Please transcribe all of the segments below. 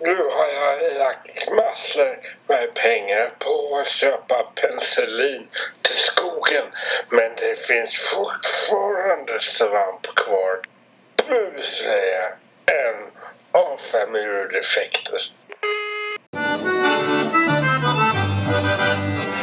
Nu har jag lagt massor med pengar på att köpa penicillin till skogen men det finns fortfarande svamp kvar. Bu, säger jag. En av fem urdefekter.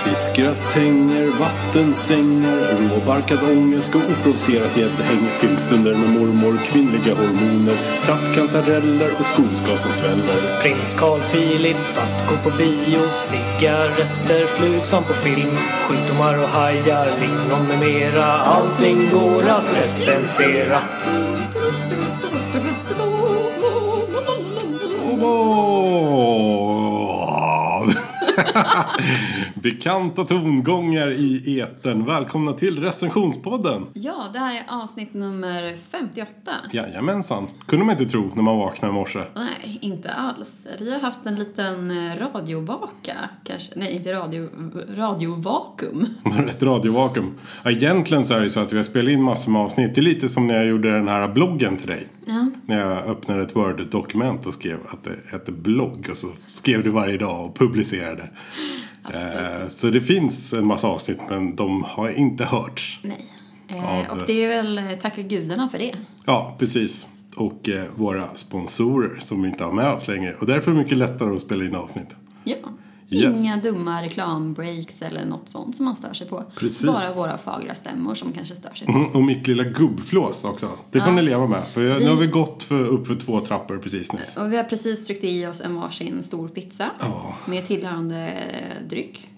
Fiskgröt, tänger, vattensängar, råbarkad ångest och oprovocerat gäddhäng. Filmstunder med mormor, kvinnliga hormoner, trattkantareller och skogsgas som sväller. Prins Carl Philip att gå på bio Cigaretter, flug som på film Sjukdomar och hajar, lingon med mera Allting går att recensera Åh! Bekanta tongångar i etern. Välkomna till recensionspodden. Ja, det här är avsnitt nummer 58. Jajamensan, kunde man inte tro när man vaknade i morse. Nej, inte alls. Vi har haft en liten eh, radiovaka, kanske. Nej, inte radio, radiovakuum. Var Ett radiovakuum. Ja, Egentligen så är det ju så att vi har spelat in massor med avsnitt. Det är lite som när jag gjorde den här bloggen till dig. Ja. När jag öppnade ett Word-dokument och skrev att det hette blogg. Och så skrev du varje dag och publicerade. Absolut. Eh, så det finns en massa avsnitt men de har inte hörts. Nej. Ja, Eh, och det- det är väl eh, tacka gudarna för det. Ja, precis. Och eh, våra sponsorer som vi inte har med oss längre. Och därför är det mycket lättare att spela in avsnitt. Ja. Yes. Inga dumma reklambreaks eller något sånt som man stör sig på. Precis. Bara våra fagra stämmor som kanske stör sig på. Mm, och mitt lilla gubbflås också. Det får ni leva med. För jag, nu har vi gått för, upp för två trappor precis nyss. Och vi har precis tryckt i oss en varsin stor pizza med tillhörande eh, dryck.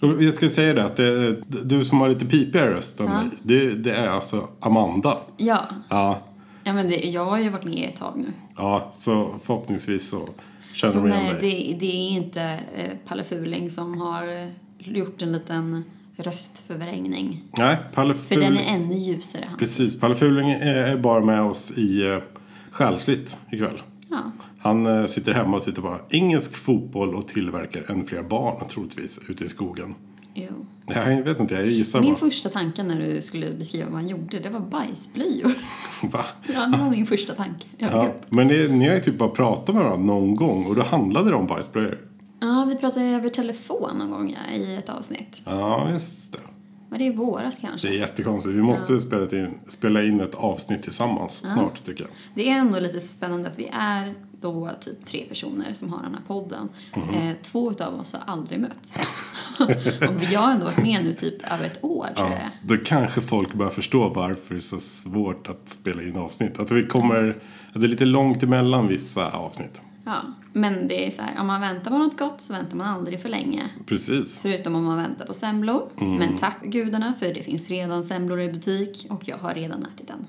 Och jag ska säga det att det, du som har lite pipigare röst än mig. Det, det är alltså Amanda. Ja, Ja, ja men det, jag har ju varit med ett tag nu. ja så förhoppningsvis så känner Så de igen nej, dig. det, det är inte eh, Palle Fuling som har eh, gjort en liten röstförvrängning. Nej, Palle För Fuling. den är ännu ljusare. Han. Precis, Palle Fuling är, är bara med oss i eh, Själsligt ikväll. Ja. Han eh, sitter hemma och tittar på engelsk fotboll och tillverkar än fler barn troligtvis ute i skogen. Jo. Jag vet inte, jag gissar Min bara. första tanke när du skulle beskriva vad han gjorde, det var bajsblöjor. Va? Ja, det var min första tanke. Jag fick Ja, upp. men det, ni har ju typ bara pratat med varandra någon gång och då handlade det om bajsblöjor. ja, vi pratade över telefon någon gång ja, i ett avsnitt. Ja, just det. Var det i våras kanske? Det är jättekonstigt. Vi måste spela, in, spela in ett avsnitt tillsammans snart tycker jag. Det är ändå lite spännande att vi är då typ tre personer som har den här podden. Mhm. Eh, två utav oss har aldrig mötts. och jag har ändå varit med nu typ över ett år tror jag. Då kanske folk börjar förstå varför det är så svårt att spela in avsnitt. Att vi kommer... Att det är lite långt emellan vissa avsnitt. Ja. Men det är så här, om man väntar på något gott så väntar man aldrig för länge. Precis. Förutom om man väntar på semlor. Men tack gudarna för det finns redan semlor i butik och jag har redan ätit en.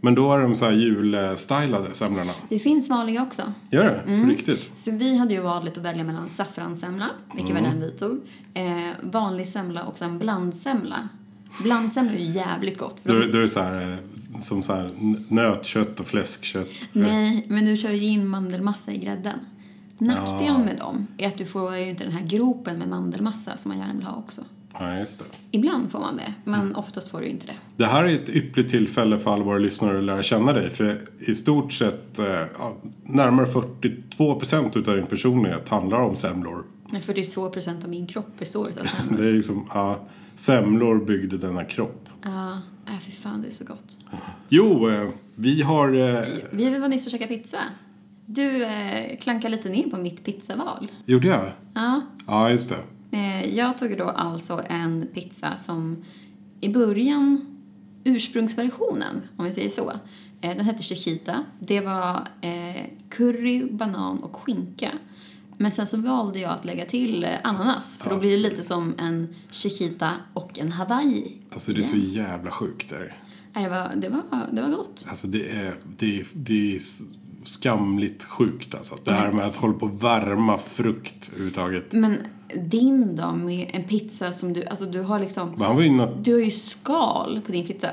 Men då är de så här julstylade semlorna. Det finns vanliga också. Gör det? På riktigt? Så vi hade ju valet att välja mellan saffranssemla, vilket var den vi tog, eh, vanlig semla och sen blandsemla. Blandsemla är ju jävligt gott. För Då, de, då är det så här, eh, som så här n- nötkött och fläskkött. nej, men du kör ju in mandelmassa i grädden. Nackdelen med dem är att du får ju inte den här gropen med mandelmassa som man gärna vill ha också. Ja, just det. Ibland får man det, men oftast får du inte det. Det här är ett ypperligt tillfälle för alla våra lyssnare att lära känna dig. För i stort sett, eh, ja, närmare 42% utav din personlighet handlar om semlor. Men 42 procent av min kropp består av semla. Det är liksom, ja, semlor byggde denna kropp. Ja, äh, fy fan det är så gott. Jo, eh, vi har... Eh, Vi var nyss och käkade pizza. Du eh, klankar lite ner på mitt pizzaval. gjorde jag? Ja, Ja, just det. Eh, Jag tog då alltså en pizza som i början, ursprungsversionen om vi säger så, eh, den hette Chiquita. Det var eh, curry, banan och skinka. Men sen så valde jag att lägga till eh, ananas för då blir det lite som en Chiquita och en Hawaii. Alltså det är så jävla sjukt där. Nej, Det var, det var, det var gott. Alltså det är, det är, det är s- skamligt sjukt alltså. Det här med att hålla på och värma frukt överhuvudtaget. Men din då med en pizza som du, alltså du har liksom, Men han var ju inne- du har ju skal på din pizza.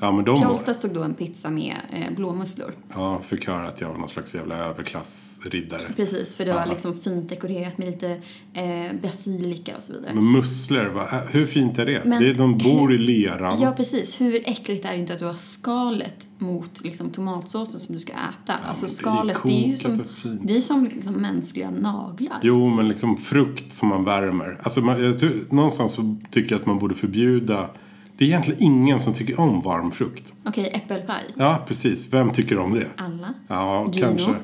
Ja, men de var... Pjolta stod då en pizza med eh, blåmusslor. Ja, fick höra att jag var någon slags jävla överklassriddare. Precis, för det var Ja. liksom fint dekorerat med lite eh, basilika och så vidare. Men musslor, vad- hur fint är det? Men- det är, de bor i leran. Ja, precis. Hur äckligt är det inte att du har skalet mot liksom, tomatsåsen som du ska äta? alltså men det är skalet, det är ju kokat som, och fint. det är som liksom, mänskliga naglar. Jo, men liksom frukt som man värmer. Alltså, man, jag tror, någonstans så tycker jag att man borde förbjuda... Det är egentligen ingen som tycker om varm frukt. Okej, äppelpaj. Ja, precis. Vem tycker om det? Alla. Ja, Gino. kanske.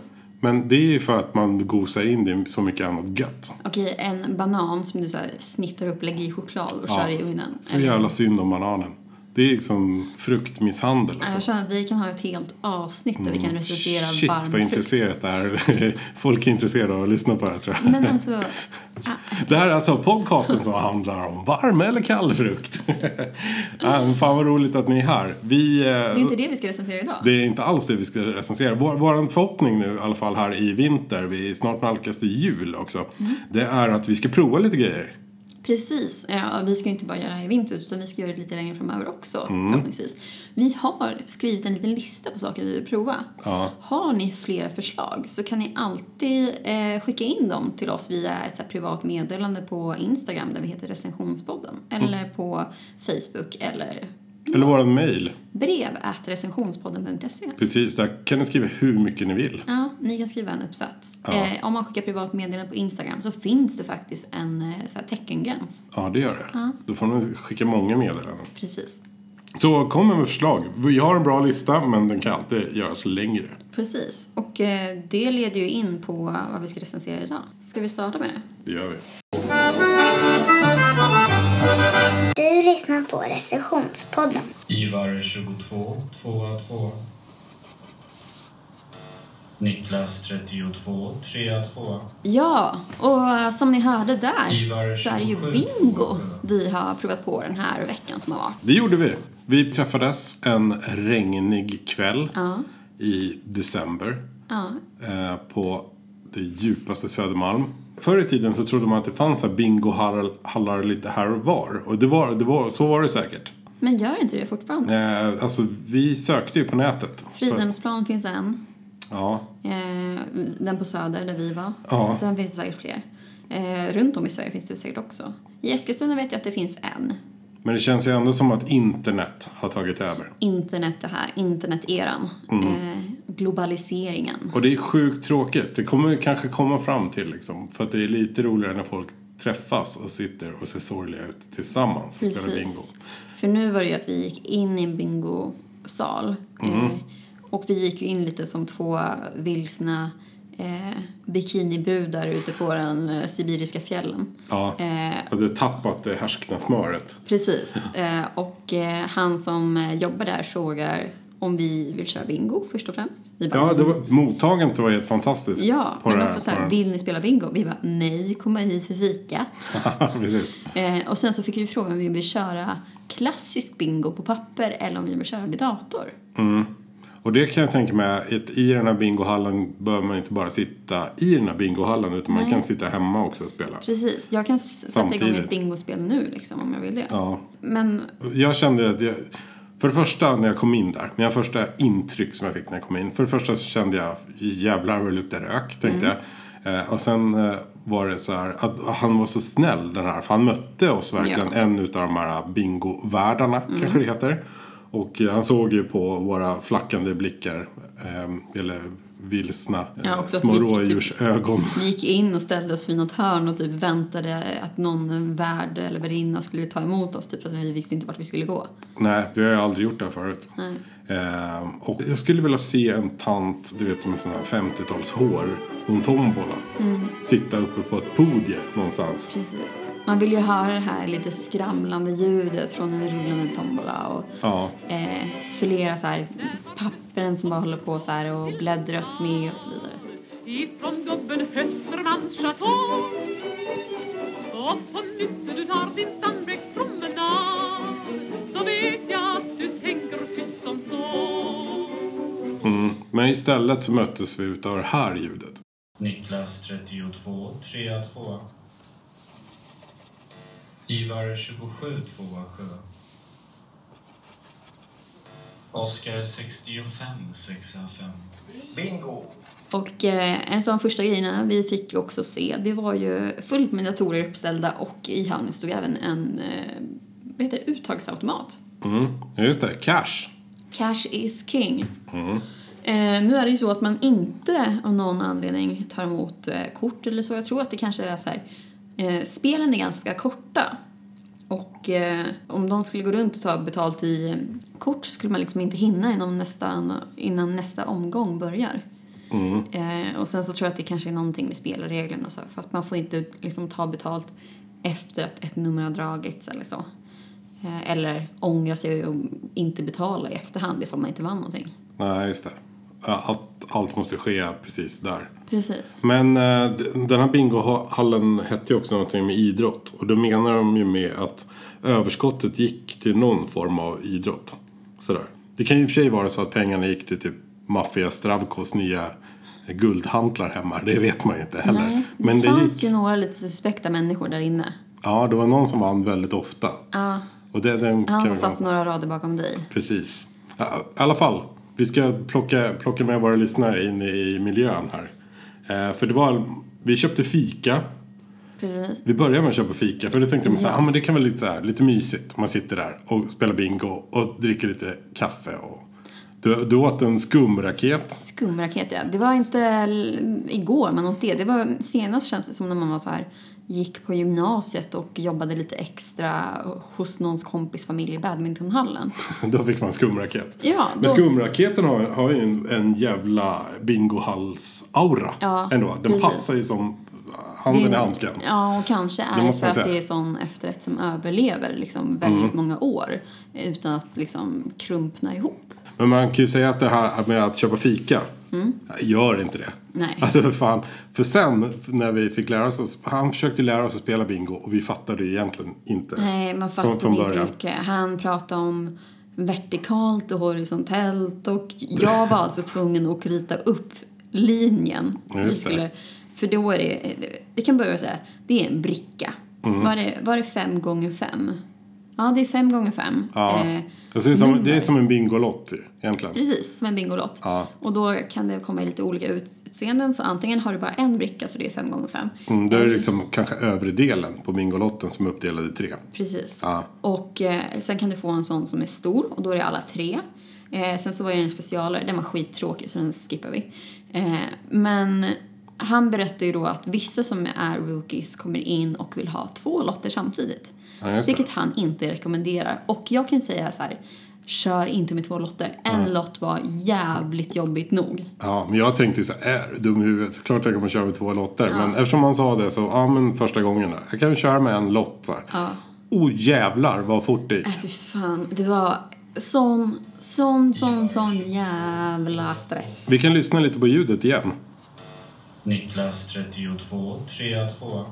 Men det är ju för att man gosar in det i så mycket annat gött. Okej, en banan som du så här, snittar upp, lägger i choklad och kör i ugnen. Så jävla synd om bananen. Det är liksom fruktmisshandel. Ja, Jag Alltså. känner att vi kan ha ett helt avsnitt där vi kan recensera Mm. Shit, varm vad frukt. intresserat det här Folk är intresserade av att lyssna på det här, tror jag. Men alltså, Det här är alltså podcasten som handlar om varm eller kall frukt. Ja, men Fan vad roligt att ni är här. Vi, eh, det, det är inte det vi ska recensera idag. Alltså, det är inte alls det vi ska recensera. Vår, vår förhoppning nu i alla fall här i vinter, vi snart nalkas det jul också. Det är att vi ska prova lite grejer. Precis. Eh, Ja, vi ska ju inte bara göra det här i vinter utan vi ska göra det lite längre framöver också Mm. förhoppningsvis. Vi har skrivit en liten lista på saker vi vill prova. Ja. Har ni flera förslag så kan ni alltid eh, skicka in dem till oss via ett så här, privat meddelande på Instagram där vi heter recensionspodden Mm. eller på Facebook eller Eller våran mail. brev at recensionspodden.se. Precis, där kan ni skriva hur mycket ni vill. Ja, ni kan skriva en uppsats. Ja. Eh, om man skickar privat meddelande på Instagram så finns det faktiskt en eh, så här, teckengräns. Ja, det gör det. Då får ni skicka många meddelanden. Precis. Så kom med förslag. Vi har en bra lista, men den kan alltid göras längre. Precis, och eh, det leder ju in på vad vi ska recensera idag. Ska vi starta med det? Det gör vi. Du lyssnar på Recessionspodden. Ivar 22, 2 2. Niklas 32, 3 2. Ja, och eh, som ni hörde där så är det ju Ivar 27. bingo vi har provat på den här veckan som har varit. Det gjorde vi. Vi träffades en regnig kväll Ja, i december ja, eh, på det djupaste Södermalm. Förr i tiden så trodde man att det fanns så här bingohallar lite här och var. Och det var, det var, så var det säkert. men gör inte det fortfarande? Eh, alltså, vi sökte ju på nätet. Fridhemsplan finns en, Ja, eh, den på Söder där vi var. Ja. Sen finns det säkert fler. Eh, runt om i Sverige finns det säkert också. I Eskilstuna vet jag att det finns en. Men det känns ju ändå som att internet har tagit över. Internet det här, interneteran. Eh, globaliseringen. Och det är sjukt tråkigt. Det kommer vi kanske komma fram till liksom. För att det är lite roligare när folk träffas och sitter och ser sorgliga ut tillsammans och spelar bingo. Precis. För nu var det ju att vi gick in i en bingosal. Mm. Eh, och vi gick ju in lite som två vilsna eh, bikinibrudar ute på den eh, sibiriska fjällen. Ja, Eh, hade tappat det härskna smöret. precis. Eh, och eh, han som eh, jobbar där frågar om vi vill köra bingo först och främst. Vi bara, Ja, det var, mottagandet var helt fantastiskt. ja på det men här- också så på här, det vill ni spela bingo? Vi bara, nej, komma hit för fikat. här. Precis. Eh, och sen så fick vi frågan om vi vill köra klassisk bingo på papper eller om vi vill köra med dator. Och det kan jag tänka mig, att i den här bingohallen bör man inte bara sitta i den här bingohallen utan man Nej. kan sitta hemma också och spela. Precis, jag kan s- sätta igång Samtidigt. ett bingospel nu liksom, om jag vill det. Ja, Men Jag kände att jag, för det första när jag kom in där, mina första intryck som jag fick när jag kom in. För det första så kände jag jävlar vad det luktar rök tänkte Mm. jag. Eh, och sen eh, var det så här att han var så snäll den här, för han mötte oss verkligen, Ja. Mm. en utav de här bingovärdarna kanske det heter. Och eh, han såg ju på våra flackande blickar, eh, eller vilsna eh, Ja, också att små vi typ- rådjursögon. vi gick in och ställde oss vid något hörn och typ väntade att någon värd eller värdinna skulle ta emot oss, typ för att vi visste inte vart vi skulle gå. Nej, vi har ju aldrig gjort det här förut. Ehm, och jag skulle vilja se en tant, du vet med sådana här 50-talshår och en tombola. Sitta uppe på ett podie någonstans. Precis. Man vill ju höra det här lite skramlande ljudet från en rullande tombola och Ja, eh, flera så här pappren som bara håller på så här och bläddras med och så vidare. ifrån gubben Höstermans chateau. Och på nytt du tar din sandbäckspromenad så vet jag att du tänker tyst som så. mm. men istället så möttes vi utav det här ljudet. Niklas 32, 3 2. Ivar 27 27. Oskar 65 65. Bingo! Och eh, en av de första grejerna vi fick också se det var ju fullt med datorer uppställda och i handen stod även en eh, vad heter det, uttagsautomat. Mm, just det, cash. Cash is king. Eh, nu är det ju så att man inte av någon anledning tar emot eh, kort eller så. Jag tror att det kanske är så här. Eh, spelen är ganska korta. Och eh, om de skulle gå runt och ta betalt i eh, kort så skulle man liksom inte hinna inom nästa, innan nästa omgång börjar. Eh, och sen så tror jag att det kanske är någonting med spelreglerna och så. För att man får inte liksom ta betalt efter att ett nummer har dragits eller så. Eh, eller ångra sig och inte betala i efterhand ifall man inte vann någonting. Nej, just det. Ja, Allt, allt måste ske precis där. Precis. Men eh, d- den här bingohallen hette ju också någonting med idrott. Och då menar de ju med att överskottet gick till någon form av idrott. Sådär. Det kan ju i och för sig vara så att pengarna gick till typ Mafia Stravkos nya guldhantlar hemma. Det vet man ju inte heller. Nej, det Men det fanns gick... ju några lite suspekta människor där inne. Ja, det var någon som vann väldigt ofta. Ja, Och det, den han kan som vi satt några rader bakom dig. Precis. Ja, I alla fall, vi ska plocka, plocka med våra lyssnare in i miljön här. Eh, för det var, vi köpte fika. Precis. Vi började med att köpa fika för då tänkte man så här, ah, men det kan vara lite, så här, lite mysigt. Man sitter där och spelar bingo och dricker lite kaffe. Och... Du, du åt en skumraket. Skumraket, ja. Det var inte l- igår man åt det. Det var senast känns det som när man var så här gick på gymnasiet och jobbade lite extra hos någons kompis familj i badmintonhallen. Då fick man skumraket. Ja, Men då- skumraketen har, har ju en, en jävla bingohals-aura Ja, ändå. Den precis. passar ju som handen i handsken. Ja, och kanske Det är det måste för man att säga. Mm. det är sån efterrätt som överlever liksom väldigt många år eh, utan att liksom krumpna ihop. Men man kan ju säga att det här med att köpa fika. Gör inte det. Mm. Nej. Alltså för fan. För sen när vi fick lära oss. Han försökte lära oss att spela bingo. Och vi fattade ju egentligen inte. Nej, man fattade inte mycket. Han pratade om vertikalt och horisontellt och jag var alltså tvungen att rita upp linjen. Vi Just det. för då är det, vi kan börja säga, det är en bricka. Mm. Var, det, var det fem gånger fem? Ja, det är fem gånger fem. Ja. Eh, det, ser ut som, det är nummer. som en bingolott ju, egentligen. Precis, som en bingolott. Ja. Och då kan det komma i lite olika utseenden. Så antingen har du bara en bricka, så det är fem gånger fem. Mm, det är liksom kanske övre delen på bingolotten som är uppdelad i tre. Precis. Ja. Och eh, sen kan du få en sån som är stor och då är det alla tre. Eh, sen så var det en specialare, den var skittråkig så den skippar vi. Eh, men han berättar ju då att vissa som är rookies kommer in och vill ha två lotter samtidigt. Ja, just det. vilket han inte rekommenderar. Och jag kan ju säga så här, kör inte med två lotter. En lott var jävligt jobbigt nog. Ja, men jag tänkte ju så här, är du dum i huvudet? Såklart jag kommer köra med två lotter. Men eftersom han sa det så, ja men första gången då. Jag kan ju köra med en lott så här. Ja. Oh jävlar vad fort det gick. Äh, fy fan, det var sån, sån, sån, sån jävla stress. Vi kan lyssna lite på ljudet igen. Niklas 32 32.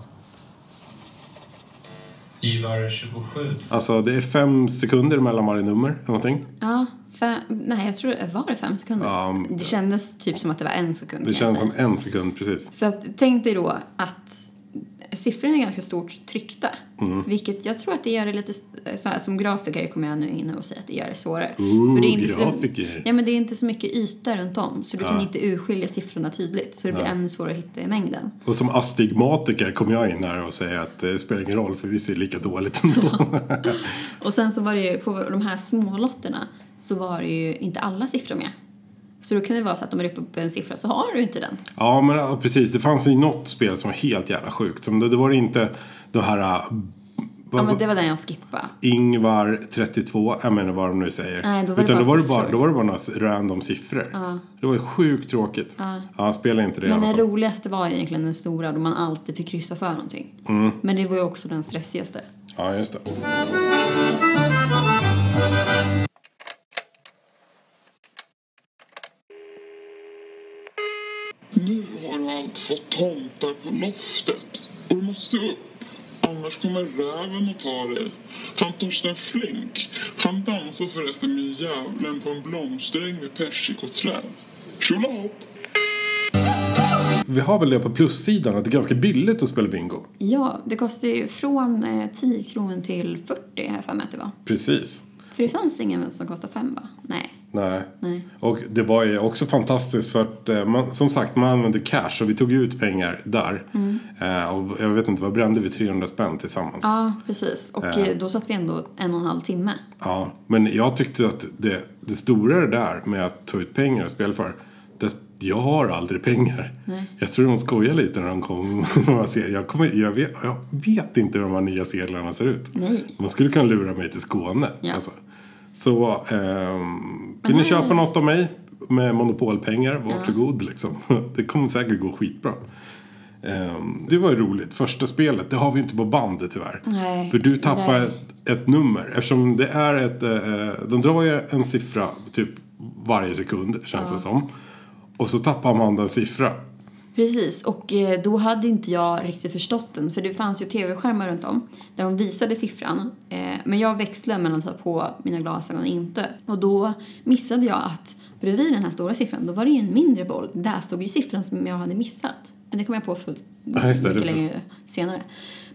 Ivar 27 Alltså det är fem sekunder mellan varje nummer eller någonting. Ja, fem, nej jag tror det var det fem sekunder. Ja, det kändes typ som att det var en sekund. Det kan jag känns säga. som en sekund precis. För att, tänk dig då att siffrorna är ganska stort tryckta. Mm. Vilket jag tror att det gör det lite, s- så här, som grafiker kommer jag nu in och säga att det gör det svårare. Ooh, För det är inte grafiker. Så, ja men det är inte så mycket yta runt om så du kan inte urskilja siffrorna tydligt. Så det blir ännu svårare att hitta i mängden. Och som astigmatiker kommer jag in här och säger att eh, det spelar ingen roll för vi ser lika dåligt ändå. Och sen så var det ju på de här smålotterna så var det ju inte alla siffror med. Så då kan det vara så att de rycker upp en siffra så har du inte den. Ja, men ja, precis. Det fanns ju något spel som var helt jävla sjukt. Som, det, det var inte det här... äh, Ja vad- men det var den jag skippade. Ingvar 32, jag menar vad de nu säger. Nej, då var det Utan bara då, var det bara, siffror. då var det bara några random siffror. Det var ju sjukt tråkigt. Ja, spela inte det i Men alla den fall. roligaste var egentligen den stora då man alltid fick kryssa för någonting. Men det var ju också den stressigaste. Ja, just det. Nu har allt fått tomtar på loftet. Och du måste upp. Annars kommer räven att ta dig. Han Torsten Flink, han dansar förresten med djävulen på en blomsträng vid persikoträd. Tjolahopp! Vi har väl det på plussidan att det är ganska billigt att spela bingo. Ja, det kostar ju från eh, 10 kronor till 40 här för mig att det var. Precis. För det fanns ingen som kostade 5 va? Nej. Nej. Nej. Och det var ju också fantastiskt för att eh, man, som sagt man använde cash och vi tog ut pengar där. Eh, och jag vet inte, vad brände vi? 300 spänn tillsammans. Ja, precis. Och eh, då satt vi ändå en och en halv timme. Ja, men jag tyckte att det, det stora det där med att ta ut pengar och spela för, det, jag har aldrig pengar. Nej. Jag tror de skojar lite när de kommer. Jag, kommer jag, vet, jag vet inte hur de här nya sedlarna ser ut. Nej. Man skulle kunna lura mig till Skåne. Ja. Ah. Alltså. Så ehm, vill ni köpa något av mig med monopolpengar, varsågod liksom. Det kommer säkert gå skitbra. Ehm, det var ju roligt, första spelet, det har vi ju inte på bandet tyvärr. Nej. För du tappar Nej. ett, ett nummer eftersom det är ett, eh, de drar ju en siffra typ varje sekund känns det som. Och så tappar man den siffra. Precis, och eh, då hade inte jag riktigt förstått den för det fanns ju tv-skärmar runt om där de visade siffran. Eh, Men jag växlade mellan att ta på mina glasögon och inte. Och då missade jag att bredvid den här stora siffran, då var det ju en mindre boll. Där stod ju siffran som jag hade missat. Men det kom jag på fullt Ja, just det, mycket det- längre senare.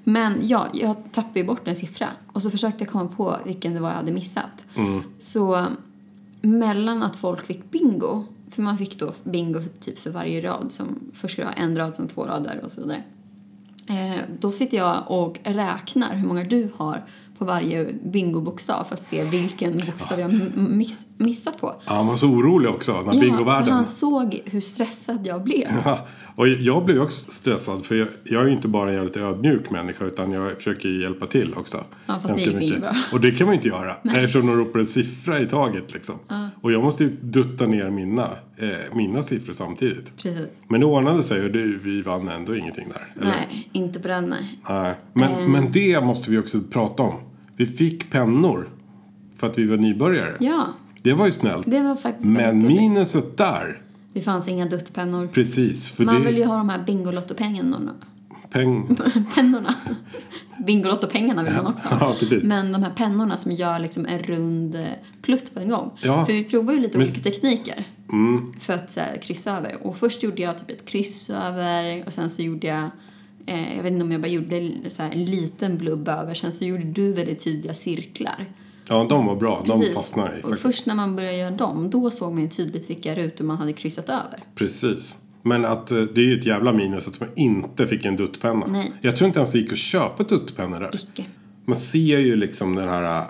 Men ja, jag tappade ju bort en siffra och så försökte jag komma på vilken det var jag hade missat. Mm. Så mellan att folk fick bingo, för man fick då bingo för, typ för varje rad som först skulle jag ha en rad, sen två rader och så vidare. Eh, då sitter jag och räknar hur många du har på varje bingobokstav för att se vilken bokstav jag m- miss, missat på. Ja, han var så orolig också, den här Ja, för bingovärlden. han såg hur stressad jag blev. Ja, och jag blev också stressad för jag, jag är ju inte bara en jävligt ödmjuk människa utan jag försöker ju hjälpa till också. Ja, fast det Ganska gick ju mycket. inget bra. Och det kan man ju inte göra eftersom de ropar en siffra i taget liksom. Och jag måste ju dutta ner mina, eh, mina siffror samtidigt. Precis. Men det ordnade sig och det, vi vann ändå ingenting där. eller? Nej, Eh. inte på den. nej. Nej. Men, men det måste vi också prata om. Vi fick pennor för att vi var nybörjare. Ja, Det var ju snällt. det var faktiskt Men väldigt gulligt. minuset där, Det fanns inga duttpennor. precis. För Man det vill ju ha de här Bingolotto-pengarna. peng... pennorna. Bingolotto-pengarna vill man också ha. Ja, precis. Men de här pennorna som gör liksom en rund eh, plutt på en gång. Ja. Mm. För vi provar ju lite olika tekniker för att så här, kryssa över. Och först gjorde jag typ ett kryss över och sen så gjorde jag eh, jag vet inte om jag bara gjorde så här en liten blubb över, sen så gjorde du väldigt tydliga cirklar. Ja, de var bra. De fastnade i. och faktiskt. först när man började göra dem, då såg man ju tydligt vilka rutor man hade kryssat över. Precis. Men att, eh, det är ju ett jävla minus att man inte fick en duttpenna. Nej. Jag tror inte ens det gick att köpa duttpennor där. Icke. Man ser ju liksom den här äh,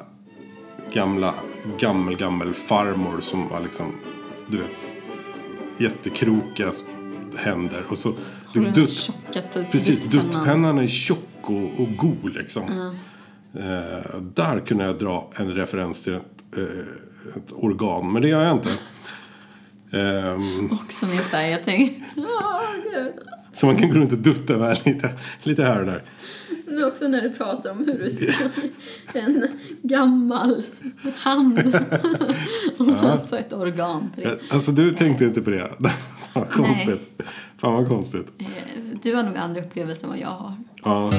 gamla, gammel, gammel farmor som var liksom, du vet, jättekrokiga s- händer. Och så Håller den här dutt- tjocka tut- Precis, duttpennan. duttpennan är tjock och, och god liksom. Eh, där kunde jag dra en referens till ett, eh, ett organ, men det gör jag inte. Ehm, Och som är såhär, jag tänker... Åh, gud. Så man kan gå runt och dutta med lite, lite här och där. Men också när du pratar om hur du ser en gammal hand och sen så ett organ. på det. Alltså du tänkte inte på det. Vad konstigt. Fan vad konstigt. Eh, Du har nog andra upplevelser än vad jag har. Ja.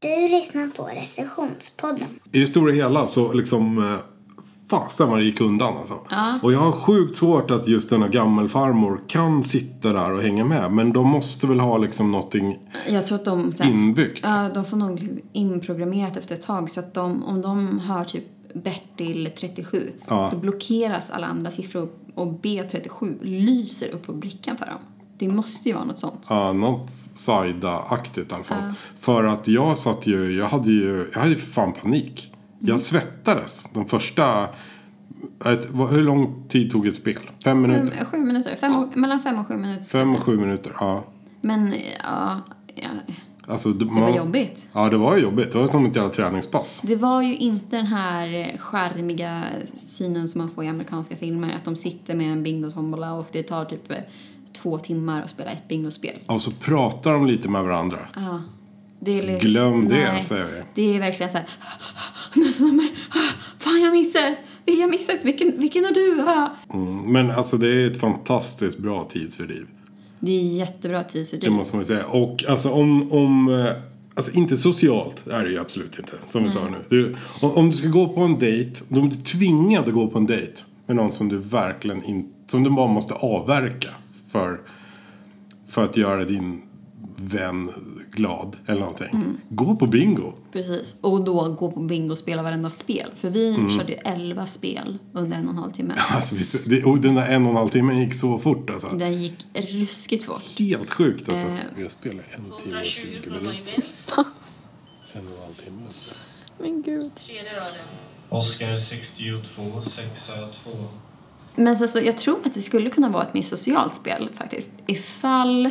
Du lyssnar på Recessionspodden. I det stora hela så liksom eh, Fasen vad det gick undan alltså. Och jag har sjukt svårt att just denna gammelfarmor kan sitta där och hänga med. Men de måste väl ha liksom någonting Jag tror att de... Så Inbyggt. Ja, de får nog inprogrammerat efter ett tag så att de, om de hör typ Bertil 37 Ja. då blockeras alla andra siffror och B37 lyser upp på brickan för dem. Det måste ju vara något sånt. Ja, något Saida-aktigt i alla fall. För att jag satt ju, jag hade ju, jag hade ju för fan panik. Mm. Jag svettades de första, ett, vad, hur lång tid tog ett spel? Fem minuter? Fem, alltså. sju minuter. Fem, och- mellan fem och sju minuter. ska jag Fem säga. och sju minuter, ja. Men ja, ja, Alltså, det det var jobbigt. Ja, det var ju jobbigt. Det var som ett jävla träningspass. Det var ju inte den här eh, skärmiga synen som man får i amerikanska filmer. Att de sitter med en bingotombola och det tar typ eh, två timmar att spela ett bingospel. Och så pratar de lite med varandra. Ja. Det är liksom- li- Glöm det, säger vi. Det är verkligen så här... Nästa nummer! Fan, jag missade ett! Vi har missat, vilken, vilken har du? Ha? Mm, Men alltså det är ett fantastiskt bra tidsfördriv. Det är jättebra tidsfördriv. Det måste man ju säga. Och alltså om... om eh, alltså inte socialt är det ju absolut inte. Som vi sa nu. Du, om, om du ska gå på en dejt. Om du är tvingad att gå på en dejt. Med någon som du verkligen inte... Som du bara måste avverka. För, för att göra din vän glad. Eller någonting. Mm. Gå på bingo. Precis. Och då gå på bingo och spela varenda spel. För vi körde ju 11 spel under en och en halv timme. Mm. Alltså, visst- det, och den där en och en halv timmen gick så fort alltså. Det gick ruskigt fort. Helt sjukt alltså. Eh. Jag spelade en timme och 20 minuter. En och en halv timme. Men gud. Oscar 62, sexa 2. Men sen så, jag tror att det skulle kunna vara ett mer socialt spel faktiskt. Ifall...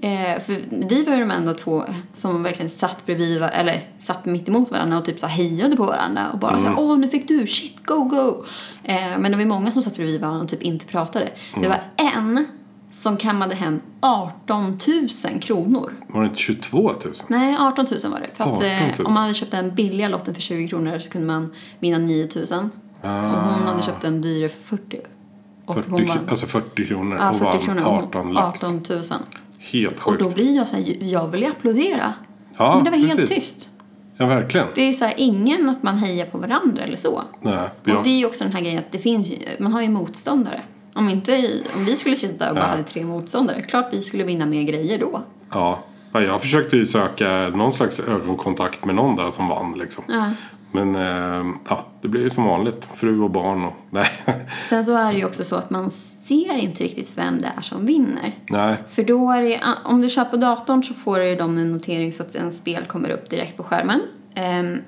Eh, för vi var ju de enda två som verkligen satt bredvid var- eller satt mitt emot varandra och typ så här hejade på varandra och bara så här, åh nu fick du, shit, go, go. Eh, men det var ju många som satt bredvid varandra och typ inte pratade. Det var en som kammade hem 18 000 kronor. Var det inte 22 000? Nej, 18 000 var det. För att 18 eh, 000. om man hade köpt den billiga lotten för 20 kronor så kunde man vinna 9 000. Och Ah. hon hade köpt en dyr för 40. Och 40, hon vann. Alltså 40 kronor Ja, och 40 vann kronor. Hon- 18 lax. 18 000. Helt Och sjukt. då blir jag så här, jag vill ju applådera. Ja, Men det var helt precis. tyst. Ja, verkligen. Det är så här, ingen att man hejar på varandra eller så. Nej, Och jag, det är ju också den här grejen att det finns ju, man har ju motståndare. Om, inte, i- om vi skulle sitta och bara Ja. hade tre motståndare, klart vi skulle vinna mer grejer då. ja. Ja, jag försökte ju söka någon slags ögonkontakt med någon där som vann liksom. Ja. Men eh, ja, det blir ju som vanligt. Fru och barn och... Nej. Sen så är det ju också så att man ser inte riktigt vem det är som vinner. nej. För då är det, ah, om du kör på datorn så får du ju dem en notering så att en spel kommer upp direkt på skärmen. Ehm,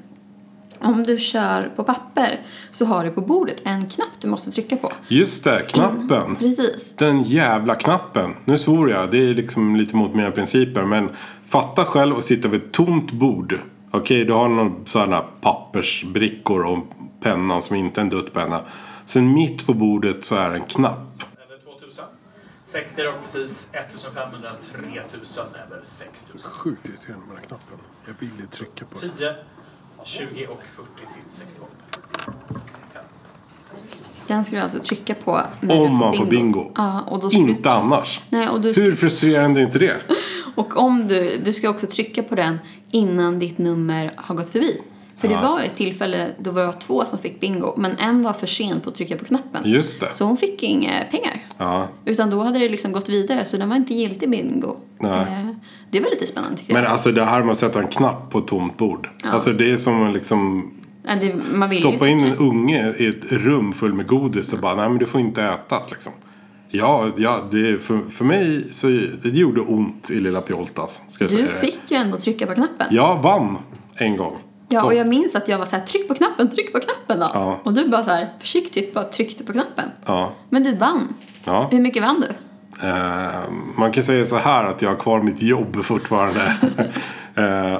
om du kör på papper så har du på bordet en knapp du måste trycka på. Just det, knappen. Precis. Den jävla knappen. Nu svor jag, det är liksom lite mot mina principer. Men fatta själv och sitta vid ett tomt bord. Okej, du har någon sådana pappersbrickor och pennan som inte är en duttpenna. Sen mitt på bordet så är en knapp. eller 2000. 60 rakt precis, 1500, 3000 eller 6000. Sjukt irriterande med den här knappen. Jag ville trycka på 10, 20 och 40 till 68. Den ska du alltså trycka på när Om du man får bingo. Ja, och då ska du Inte annars. Nej, och du ska- Hur frustrerande är inte det? Och om du, du ska också trycka på den innan ditt nummer har gått förbi. För det var ett tillfälle då det var två som fick bingo, men en var för sen på att trycka på knappen. Just det. Så hon fick inga pengar. Ja. Utan då hade det liksom gått vidare, så den var inte giltig bingo. Nej. Eh, Det var lite spännande tycker jag. Men alltså det här med att sätta en knapp på ett tomt bord. Alltså det är som en liksom Ja, det, man vill Stoppa ju in inte. en unge i ett rum full med godis och bara nej men du får inte äta liksom. Ja, ja det, är för, för mig så det gjorde ont i lilla Pjoltas. Ska jag Du säga det. fick ju ändå trycka på knappen. Jag vann en gång. Ja, och jag minns att jag var så här, tryck på knappen, tryck på knappen då. Ja. Och du bara så här, försiktigt bara tryckte på knappen. Ja. Men du vann. Ja. Hur mycket vann du? Eh, man kan säga så här att jag har kvar mitt jobb fortfarande. eh,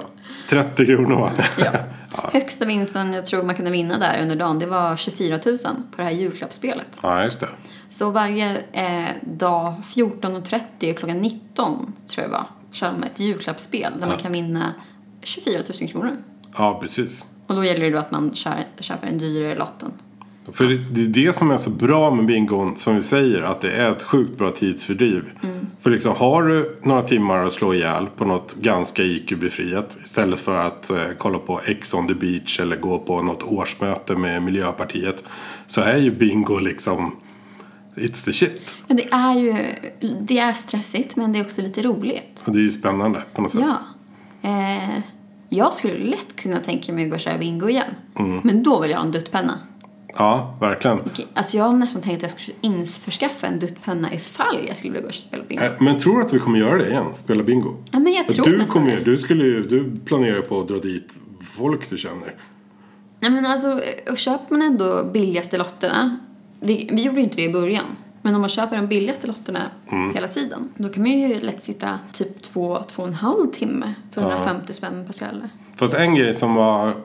30 kronor vann jag. Ja. Högsta vinsten jag tror man kunde vinna där under dagen, det var 24 000 på det här julklappsspelet. Ja, just det. Så varje eh, dag 14.30 och klockan 19 tror jag det var, kör de ett julklappsspel där man kan vinna 24 000 kronor. Ja, precis. Och då gäller det då att man kör, köper den dyrare lotten. För det, det är det som är så bra med bingon som vi säger att det är ett sjukt bra tidsfördriv. Mm. För liksom har du några timmar att slå ihjäl på något ganska IQ-befriat istället för att eh, kolla på Ex on the beach eller gå på något årsmöte med Miljöpartiet så är ju bingo liksom it's the shit. Ja, det är ju det är stressigt men det är också lite roligt. Och det är ju spännande på något sätt. Ja. Eh, jag skulle lätt kunna tänka mig att gå och köra bingo igen. Men då vill jag ha en duttpenna. Ja, verkligen. Okej, Alltså jag har nästan tänkt att jag skulle införskaffa en duttpenna ifall jag skulle vilja gå och spela bingo. Eh, Men tror du att vi kommer göra det igen? Spela bingo? Ja, men jag tror du, nästan kommer, ju- det. du, skulle ju, du planerar på att dra dit folk du känner. Nej men alltså, eh, och köper man ändå billigaste lotterna. Vi, vi gjorde ju inte det i början. Men om man köper de billigaste lotterna Mm. hela tiden. Då kan man ju lätt sitta typ två, två och en halv timme för 150 spänn per skalle. Fast en grej som var mm,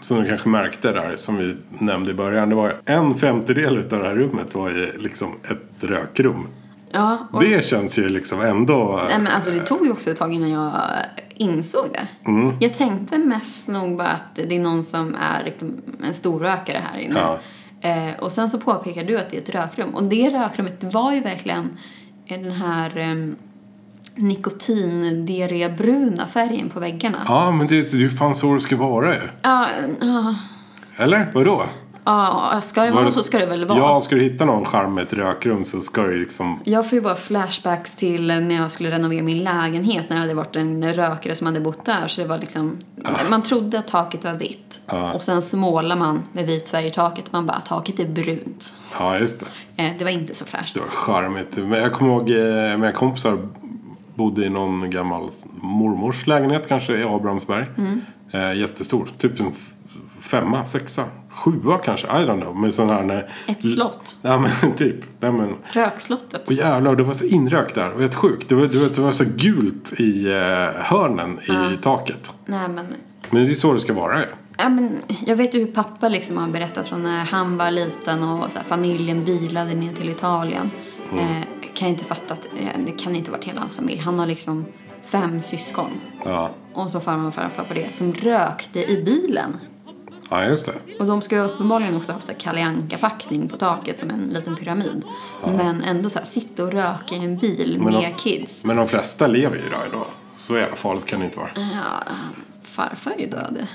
som du kanske märkte där som vi nämnde i början. Det var ju en femtedel av det här rummet var ju liksom ett rökrum. Ja, och, Det känns ju liksom ändå. nej, men alltså det tog ju också ett tag innan jag insåg det. Mm. Jag tänkte mest nog bara att det är någon som är liksom en storrökare här inne. Ja. Eh, och sen så påpekar du att det är ett rökrum. Och det rökrummet var ju verkligen eh, den här eh, nikotin-diarrébruna färgen på väggarna. Ja, men det det är ju fan så det ska vara ju. Ja, ja, Eller? Vadå? ja, ska det Var vara det- så ska det väl vara. Ja, ska du hitta någon charm med ett rökrum så ska du liksom... Jag får ju bara flashbacks till när jag skulle renovera min lägenhet när det hade varit en rökare som hade bott där. Så det var liksom, Man trodde att taket var vitt och sen så målar man med vit färg i taket. Man bara, taket är brunt. Ja, just det. Eh, det var inte så fräscht. Det var charmigt. Men jag kommer ihåg eh, mina kompisar bodde i någon gammal mormors lägenhet kanske i Abrahamsberg. Mm. Eh, jättestor. Typ en s- femma, sexa, sjua kanske. I don't know. Men sån här när... Ett slott. Ja men typ. Nej, men... Rökslottet. Och jävlar, det var så inrökt där. Det var helt sjukt. Det var, det var, det var så gult i eh, hörnen i taket. Nej, men, Men det är så det ska vara ju. ja, men, jag vet ju hur pappa liksom har berättat från när han var liten och så här, familjen bilade ner till Italien. Eh, kan jag inte fatta att eh, det kan inte ha varit hela hans familj. Han har liksom fem syskon. Ja, och så farmor och farfar på det, som rökte i bilen. ja just det. Och de ska ju uppenbarligen också ha haft så här Kalle Anka-packning på taket som en liten pyramid. Men ändå så här, sitta och röka i en bil Men med de- kids. Men de flesta lever ju idag. idag. Så jävla farligt kan det inte vara. Ja, farfar är ju död.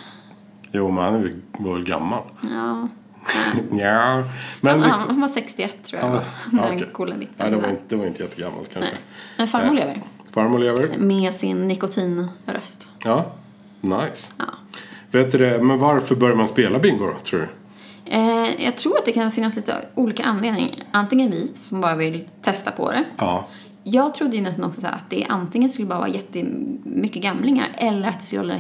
Jo, men han är väl- var väl gammal. Ja, Ja, men han, liksom... han var 61 tror jag, Ja, när ja, han okej. kollade Ja, det var inte, det var inte jättegammalt kanske. Men farmor Nej. lever. Farmor lever. Med sin nikotinröst. Ja, nice. Ja. Vet du det, men varför börjar man spela bingo då, tror du? Eh, jag tror att det kan finnas lite olika anledningar. Antingen vi som bara vill testa på det. Ja, Jag trodde ju nästan också så här att det antingen skulle bara vara jättemycket gamlingar eller att det skulle vara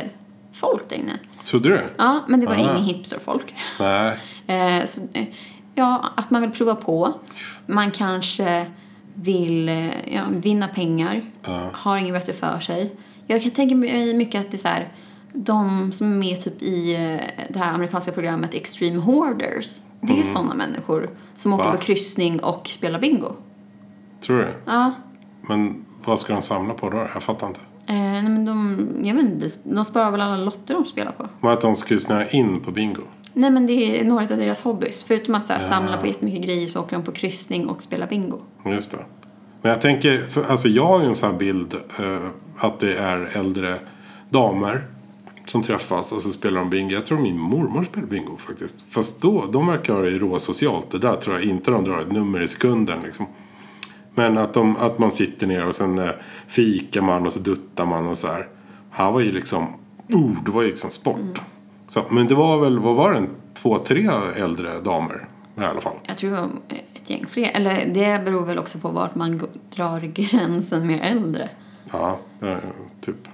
hipsterfolk där inne. trodde du? Ja, men det var Ah. ingen hipsterfolk. Nej. Eh, så, eh, ja, att man vill prova på. Man kanske vill eh, ja, vinna pengar. Har inget bättre för sig. Jag kan tänka mig eh, mycket att det är så här de som är med typ i eh, det här amerikanska programmet Extreme Hoarders. Det är sådana människor som åker Va? på kryssning och spelar bingo. Tror du? Ja. Men vad ska de samla på då? Jag fattar inte. Eh, nej men de, jag vet inte, de sparar väl alla lotter de spelar på? Men att de skulle snöa in på bingo. Nej men det är några av deras hobbys. Förutom att så här, samla på jättemycket grejer så åker de på kryssning och spelar bingo. Just det. Men jag tänker, för, alltså jag har ju en sån här bild eh, att det är äldre damer som träffas och så spelar de bingo. Jag tror min mormor spelar bingo faktiskt. Fast då, de verkar ha det råsocialt. Det där tror jag inte de drar ett nummer i sekunden liksom. Men att, de, att man sitter ner och sen eh, fikar man och så duttar man och så här. Här var ju liksom, oh, det var ju liksom sport. Så, men det var väl, vad var det, två, tre äldre damer i alla fall. Jag tror det var ett gäng fler. Eller det beror väl också på vart man g- drar gränsen med äldre. Ja, eh, typ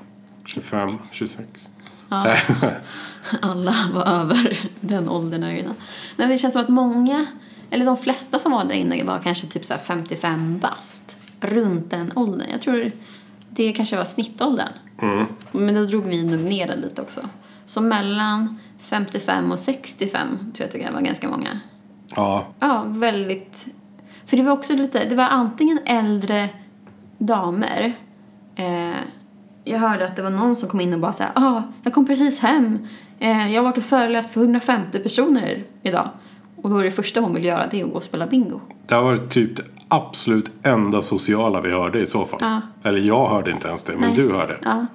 25, 26. Ja. Alla var över den åldern där inne. Men det känns som att många, eller de flesta som var där inne var kanske typ så här 55 bast. Runt den åldern. Jag tror det kanske var snittåldern. Men då drog vi nog ner den lite också. Så mellan 55 och 65 tror jag att det var ganska många. Ja, Ja, väldigt. För det var också lite, det var antingen äldre damer. Eh, jag hörde att det var någon som kom in och bara såhär, ja, ah, jag kom precis hem. Eh, jag har varit och föreläst för 150 personer idag. Och då är det första hon vill göra det är att gå och spela bingo. det här var typ det absolut enda sociala vi hörde i så fall. Eller jag hörde inte ens det, men Nej. du hörde. Ja.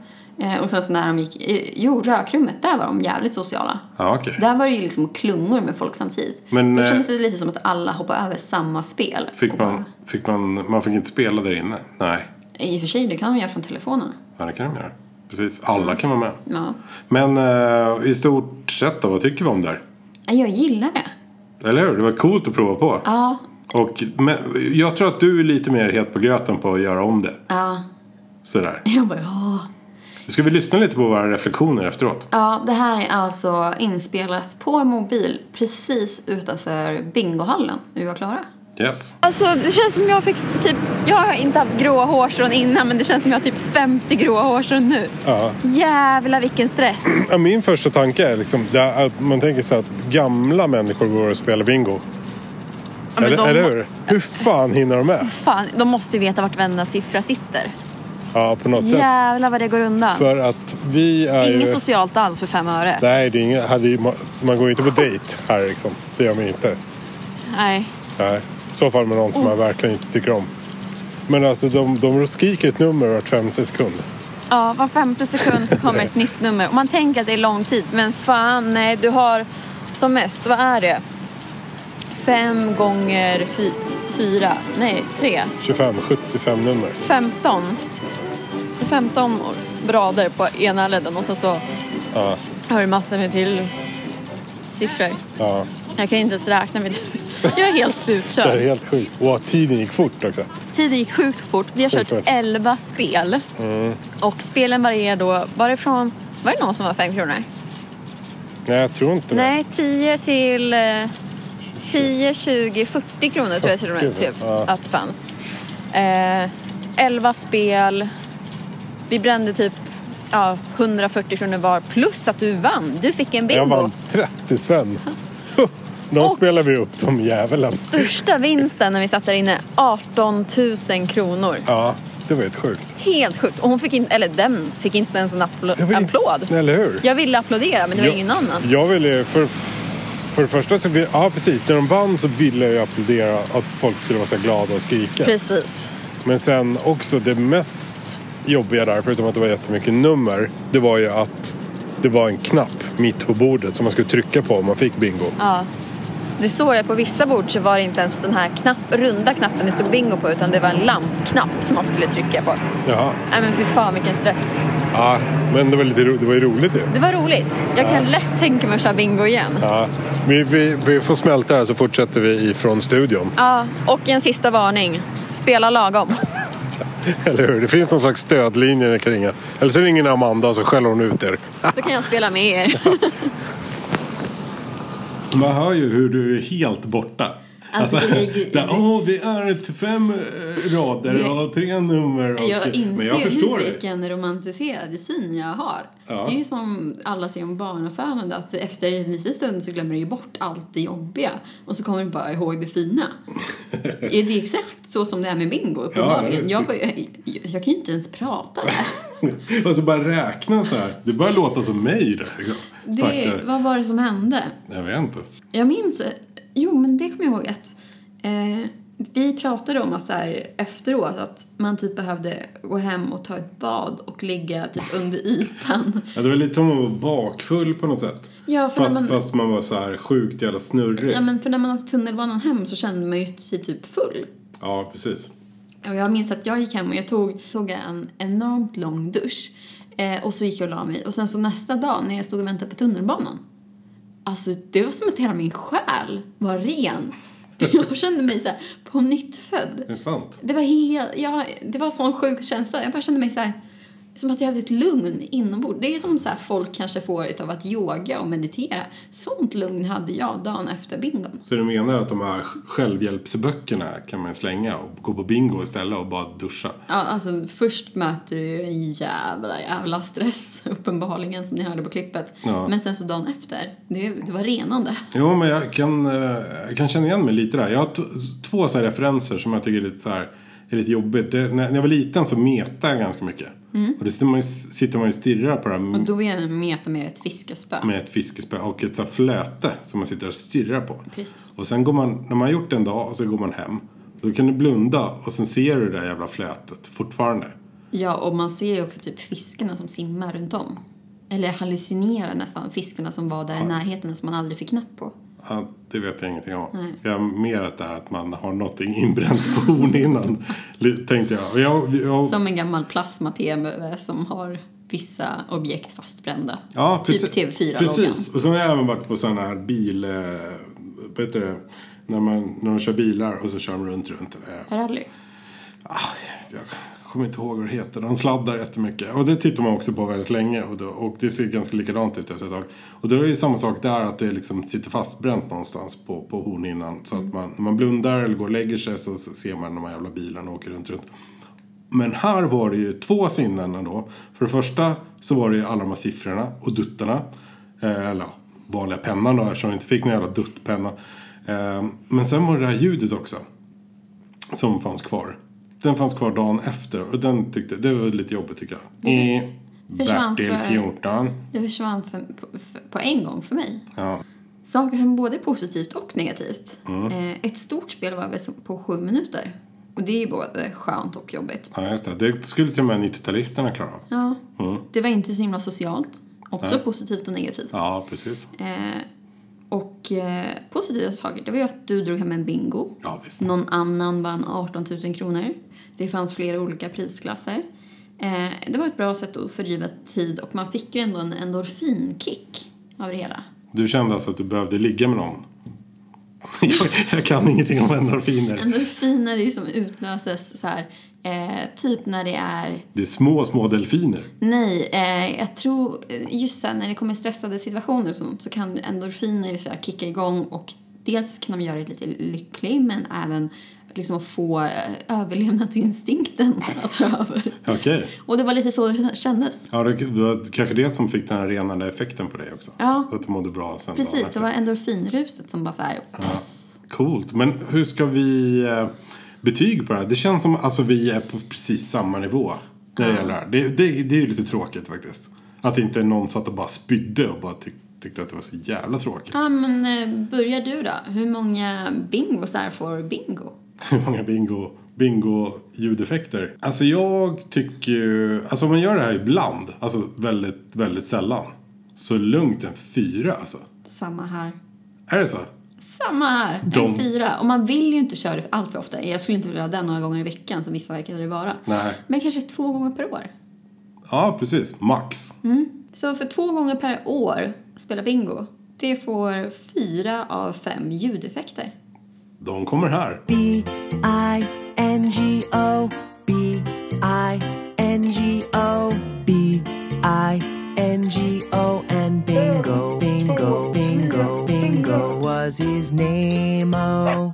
Eh, och sen så när de gick, eh, jo rökrummet, där var de jävligt sociala. Ja, okej. Där var det ju liksom klungor med folk samtidigt. Men, då eh, kändes det lite som att alla hoppade över samma spel. Fick Och man, bara- fick man, man fick inte spela där inne? Nej, I och för sig, det kan de göra från telefonerna. ja, det kan de göra. Precis, alla kan vara med. Ja. Men eh, i stort sett då, vad tycker vi om det här? Jag gillar det. Eller hur? Det var coolt att prova på. Ja, Och men, jag tror att du är lite mer het på gröten på att göra om det. ja. Sådär. Jag bara, ja. Ska vi lyssna lite på våra reflektioner efteråt? Ja, det här är alltså inspelat på mobil precis utanför bingohallen när vi var klara. Yes. Alltså, det känns som jag fick typ... Jag har inte haft gråa hårstrån innan, men det känns som jag har typ 50 gråa hårstrån nu. Ja. Jävla vilken stress. Ja, min första tanke är liksom det här att man tänker sig att gamla människor går och spelar bingo. men eller, de- eller hur? Hur fan hinner de med? Fan, de måste ju veta vart varenda siffra sitter. Ja, på något sätt. Jävlar vad det går undan. För att vi är ju... Inget socialt alls för fem öre. Nej, det är ingen, hade ju, man går ju inte på dejt här liksom. Det gör man inte. Nej. Nej. I så fall med någon som Oh. man verkligen inte tycker om. Men alltså de, de skriker ett nummer vart femte sekund. Ja, var femte sekund så kommer ett nytt nummer. Och man tänker att det är lång tid, men fan nej, du har som mest, vad är det? Fem gånger fy, fyra, nej, tre, 25, 75 nummer. 15. 15 rader på ena ledden och sen så Ja, har du massor med till siffror. ja. Jag kan inte ens räkna med Jag är helt Det här är slutkörd. helt sjukt. Och tiden gick fort också. Tiden gick sjukt fort. Vi har Sjukt kört fort. Mm. 11 spel. Och spelen varierar då, var det från, var det någon som var fem kronor? Nej, jag tror inte Nej, 10 till eh, 10, 20, 40 kronor tror jag till och med 40, typ, ja. att det fanns. Eh, 11 spel. Vi brände typ ja, 140 kronor var plus att du vann. Du fick det. en bingo. Jag vann 30 spänn. De Och- spelar vi upp som djävulen. Största vinsten när vi satt där inne, 18 000 kronor. Ja, det var helt sjukt. Helt sjukt. Och hon fick inte, eller den fick inte ens en Det appl- var in- applåd. Eller hur? Jag ville applådera men det var Jag- ingen annan. Jag ville ju för, för det första så vill, ja precis, när de vann så ville jag ju applådera att folk skulle vara så här glada och skrika. Precis. Men sen också det mest jobbiga där, förutom att det var jättemycket nummer, det var ju att det var en knapp mitt på bordet som man skulle trycka på om man fick bingo. Du såg ju att på vissa bord så var det inte ens den här knapp, runda knappen det stod bingo på utan det var en lampknapp som man skulle trycka på. Jaha. Nej men fy fan vilken stress. Ja, men det var, lite ro, det var ju roligt ju. Det var roligt. Jag kan lätt tänka mig att köra bingo igen. Ja. Ja. Vi, vi, vi får smälta det här så fortsätter vi ifrån studion. och en sista varning. Spela lagom. Eller hur? Det finns någon slags stödlinje ni kan ringa. Eller så ringer ni Amanda så skäller hon ut er. Så kan jag spela med er. Man hör ju hur du är helt borta. Alltså, Alltså, det- där, åh, det är ett fem eh, rader och tre nummer. Och, Jag inser men jag förstår nu det. vilken romantiserad syn jag har. Ja. Det är ju som alla ser om barnafödande att efter en liten stund så glömmer du ju bort allt det jobbiga och så kommer du bara ihåg det fina. är det exakt så som det är med bingo Ja, uppenbarligen? visst. jag, var ju- jag, jag kan ju inte ens prata där. och så bara räkna så här. Det börjar låta som mig där. liksom. det, Stackare. vad var det som hände? Jag vet inte. Jag minns, jo men det kommer jag ihåg att eh, vi pratade om att så här, efteråt att man typ behövde gå hem och ta ett bad och ligga typ under ytan. Ja, det var lite som att vara bakfull på något sätt. Ja, för när fast, man- fast man var så här sjukt jävla snurrig. Ja men för när man åkte tunnelbanan hem så kände man ju sig typ full. Ja, precis. Och jag minns att jag gick hem och jag tog, tog en enormt lång dusch. Eh, och så gick jag och la mig. Och sen så nästa dag när jag stod och väntade på tunnelbanan. Alltså det var som att hela min själ var ren. Jag kände mig så här på nytt Är det sant? Det var helt, jag, det var en sån sjuk känsla. Jag bara kände mig så här som att jag hade ett lugn inombords. Det är som så här folk kanske får utav att yoga och meditera. Sånt lugn hade jag dagen efter bingon. Så du menar att de här självhjälpsböckerna kan man slänga och gå på bingo istället och bara duscha? Ja, alltså först möter du ju en jävla, jävla stress uppenbarligen som ni hörde på klippet. Ja. Men sen så dagen efter, det, det var renande. Jo, men jag kan, eh, jag kan känna igen mig lite där. Jag har t- två så här referenser som jag tycker är lite, så här, är lite jobbigt. Det, när, när jag var liten så metade jag ganska mycket. Och då sitter man ju, sitter man ju och stirrar på det här Och Mm. då är det en meta med ett fiskespö. med ett fiskespö och ett så här flöte som man sitter och stirrar på. Precis. Och sen går man, när man har gjort det en dag och så går man hem. Då kan du blunda och sen ser du det där jävla flötet fortfarande. Ja, och man ser ju också typ fiskarna som simmar runt om. Eller hallucinerar nästan fiskarna som var där i närheten som man aldrig fick napp på. Ja, det vet jag ingenting om. Nej. Jag har mer att det här att man har någonting inbränt på horn innan. li- Tänkte jag. Och jag, jag Som en gammal plasma-tv som har vissa objekt fastbrända. Ja, typ TV4-loggan. Precis, och sen har jag även varit på sådana här bil... eh, Vad heter det? När man, när man kör bilar och så kör de runt, runt. Eh, Rally. Jag kommer inte ihåg vad det heter. De sladdar jättemycket. Och det tittar man också på väldigt länge. Och, då, och det ser ganska likadant ut efter ett tag. Och då är det ju samma sak där att det liksom sitter fastbränt någonstans på, på hornhinnan. Så Mm. att man, när man blundar eller går och lägger sig så så ser man de här jävla bilarna åker runt, runt. Men här var det ju två sinnen ändå. För det första så var det ju alla de här siffrorna och duttarna. Eh, eller ja, vanliga pennan då eftersom jag inte fick någon jävla duttpenna. Eh, men sen var det det här ljudet också. Som fanns kvar. Den fanns kvar dagen efter och den tyckte, det var lite jobbigt tycker jag. I försvann Bertil för- 14. Det försvann för, på, för, på en gång för mig. Ja. Saker som både är positivt och negativt. Mm. Eh, ett stort spel var väl så- på sju minuter. Och det är ju både skönt och jobbigt. ja, just det. Det skulle till och med 90-talisterna klara av. Ja. Mm. Det var inte så himla socialt. Också positivt och negativt. Ja, precis. Eh, och eh, positiva saker, det var ju att du drog hem en bingo. Ja, visst. Någon annan vann 18 000 kronor. Det fanns flera olika prisklasser. Eh, det var ett bra sätt att fördriva tid och man fick ju ändå en endorfinkick av det hela. Du kände alltså att du behövde ligga med någon? jag, jag kan ingenting om endorfiner. Endorfiner är ju som utlöses så här, eh, typ när det är, Det är små, små delfiner. nej, eh, jag tror, eh, just så här, när det kommer stressade situationer och sånt, så kan endorfiner så här, kicka igång och dels kan de göra dig lite lycklig men även liksom att få eh, överlevnadsinstinkten att ta över. Okej. Och det var lite så det kändes. Ja, det, det var kanske det som fick den här renande effekten på dig också. Ja. Att du mådde bra sen dagen Precis, det efter. var endorfinruset som bara så här, Coolt. Men hur ska vi eh, betyg på det här? Det känns som alltså vi är på precis samma nivå när det gäller det här. Det, det, det är ju lite tråkigt faktiskt. Att inte någon satt och bara spydde och bara tyck, tyckte att det var så jävla tråkigt. ja men eh, börjar du då? Hur många bingosar får bingo? Hur många bingo, bingo ljudeffekter? Alltså jag tycker ju, alltså om man gör det här ibland, alltså väldigt, väldigt sällan. Så lugnt en fyra alltså. Samma här. Är det så? Samma här, De- en fyra. Och man vill ju inte köra det allt för ofta. Jag skulle inte vilja ha den några gånger i veckan som vissa verkade det vara. Nej. Men kanske två gånger per år. Ja, precis. Max. Så för två gånger per år spela bingo, det får fyra av fem ljudeffekter. De kommer här. B-I-N-G-O B-I-N-G-O B-I-N-G-O And bingo, bingo, bingo, bingo was his oh. name-o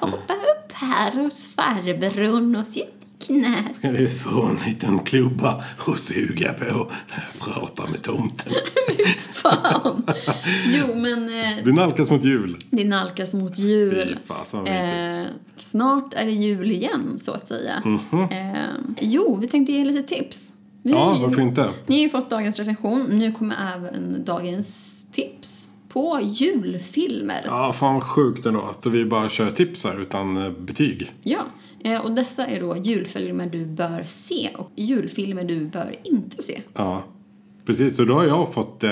Hoppa upp här hos farbrorn och sitt i knät. Ska du få en liten klubba och suga på när jag pratar med tomten. Fan! Jo, men eh, Det nalkas mot jul. det nalkas mot jul. Fy fasen vad mysigt. Mhm. Eh, snart är det jul igen, så att säga. eh, jo, vi tänkte ge lite tips. Vi har Ja, ju- varför inte? Ni har ju fått dagens recension. Nu kommer även dagens tips på julfilmer. Ja. Ja, fan vad sjukt ändå att vi bara kör tips här utan eh, betyg. Eh, Och dessa är då julfilmer du bör se och julfilmer du bör inte se. Ja, precis. Så då har jag fått eh,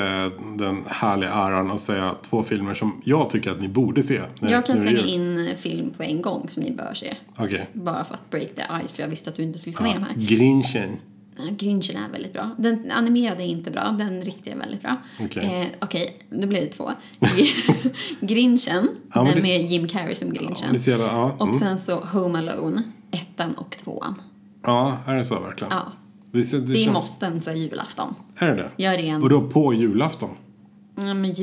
den härliga äran att säga två filmer som jag tycker att ni borde se. när- jag kan när det är slänga jul. in eh, film på en gång som ni bör se. Okej. Bara för att break the ice, för jag visste att du inte skulle ta med dem här. Grinchen. Ja, Grinchen Eh, är väldigt bra. Den animerade är inte bra, den riktiga är väldigt bra. Okej. eh, okej, nu blir det två. Grinchen, Ja, men den det- med Jim Carrey som Ja, Grinchen. det ser jag, ja. Och Mm. sen så Home Alone, ettan och tvåan. ja, är det så verkligen? Ja. Det, ser- det Det är känns- måsten för julafton. Är det det? Gör ren. Och då på julafton? Ja, men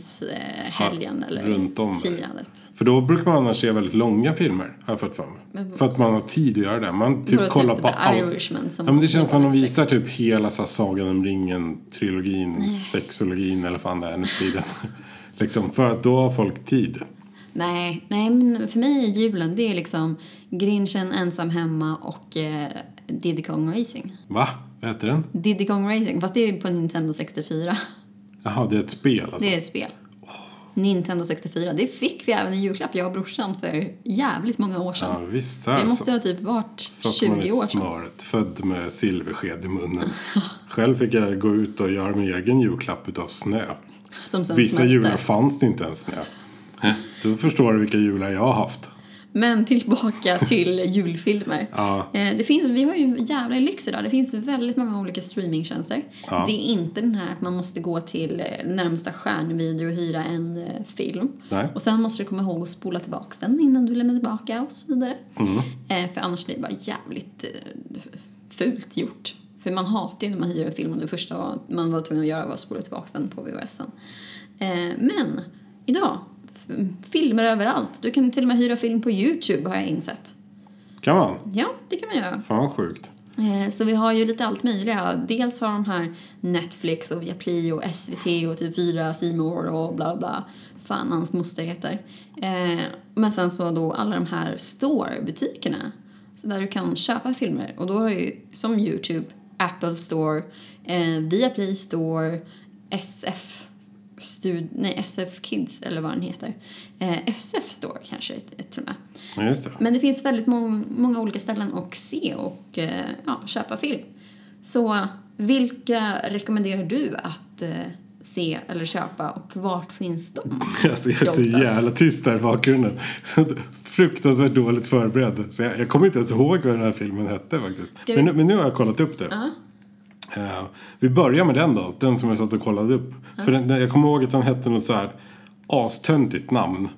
julaftonshelgen Ja, eller runt om. firandet. För då brukar man annars se väldigt långa filmer, har jag fått för mig. För att man har tid att göra det. Man typ Vadå, typ kollar på The allt. Irishman som ja, men det känns som de Netflix. visar typ hela så här, Sagan om ringen-trilogin, sexologin eller fan det är nu för tiden. liksom, för att då har folk tid. Nej, nej, men för mig är julen det är liksom Grinchen, ensam hemma och eh, Diddy Kong Racing. Va? Vad heter den? Diddy Kong Racing, fast det är ju på Nintendo 64. Jaha, det är ett spel alltså. Det är ett spel. Nintendo 64. Det fick vi även i julklapp, jag och brorsan, för jävligt många år Ja, sedan. visst. det Här, måste ju ha typ varit satt man 20 i år sedan. smöret, född med silversked i munnen. Själv fick jag gå ut och göra min egen julklapp utav snö. Som sen Vissa smälte. jular fanns det inte ens snö. Då förstår du vilka jular jag har haft. Men tillbaka till julfilmer. Ja. Eh, Det finns, vi har ju en jävla lyx idag. Det finns väldigt många olika streamingtjänster. Ja. Det är inte den här att man måste gå till eh, närmsta stjärnvideo och hyra en eh, film. Nej. Och sen måste du komma ihåg att spola tillbaka den innan du lämnar tillbaka och så vidare. Eh, För annars blir det bara jävligt eh, fult gjort. För man hatar ju när man hyr en film och det första man var tvungen att göra var att spola tillbaka den på VHSen. Eh, Men idag, f- filmer överallt. Du kan till och med hyra film på Youtube har jag insett. Kan man? Ja, det kan man göra. Fan vad sjukt. Eh, Så vi har ju lite allt möjliga. Dels har de här Netflix och Viaplay och SVT och typ 4 C More och bla bla. Fan hans moster heter. Eh, Men sen så då alla de här store-butikerna. Så där du kan köpa filmer. Och då har du ju som Youtube, Apple Store, eh, Viaplay Store, SF Stud nej, SF Kids eller vad den heter. Eh, SF Store kanske till och med. Ja, just det. Men det finns väldigt mång- många olika ställen att se och eh, ja, köpa film. Så vilka rekommenderar du att eh, se eller köpa och vart finns de? Alltså, jag är så Jontas. jävla tyst där i bakgrunden. Så fruktansvärt dåligt förberedd. Så jag, jag kommer inte ens ihåg vad den här filmen hette faktiskt. Ska vi- Men, nu, men nu har jag kollat upp det. Eh, vi börjar med den då, den som jag satt och kollade upp. För den, jag kommer ihåg att den hette något så här astöntigt namn.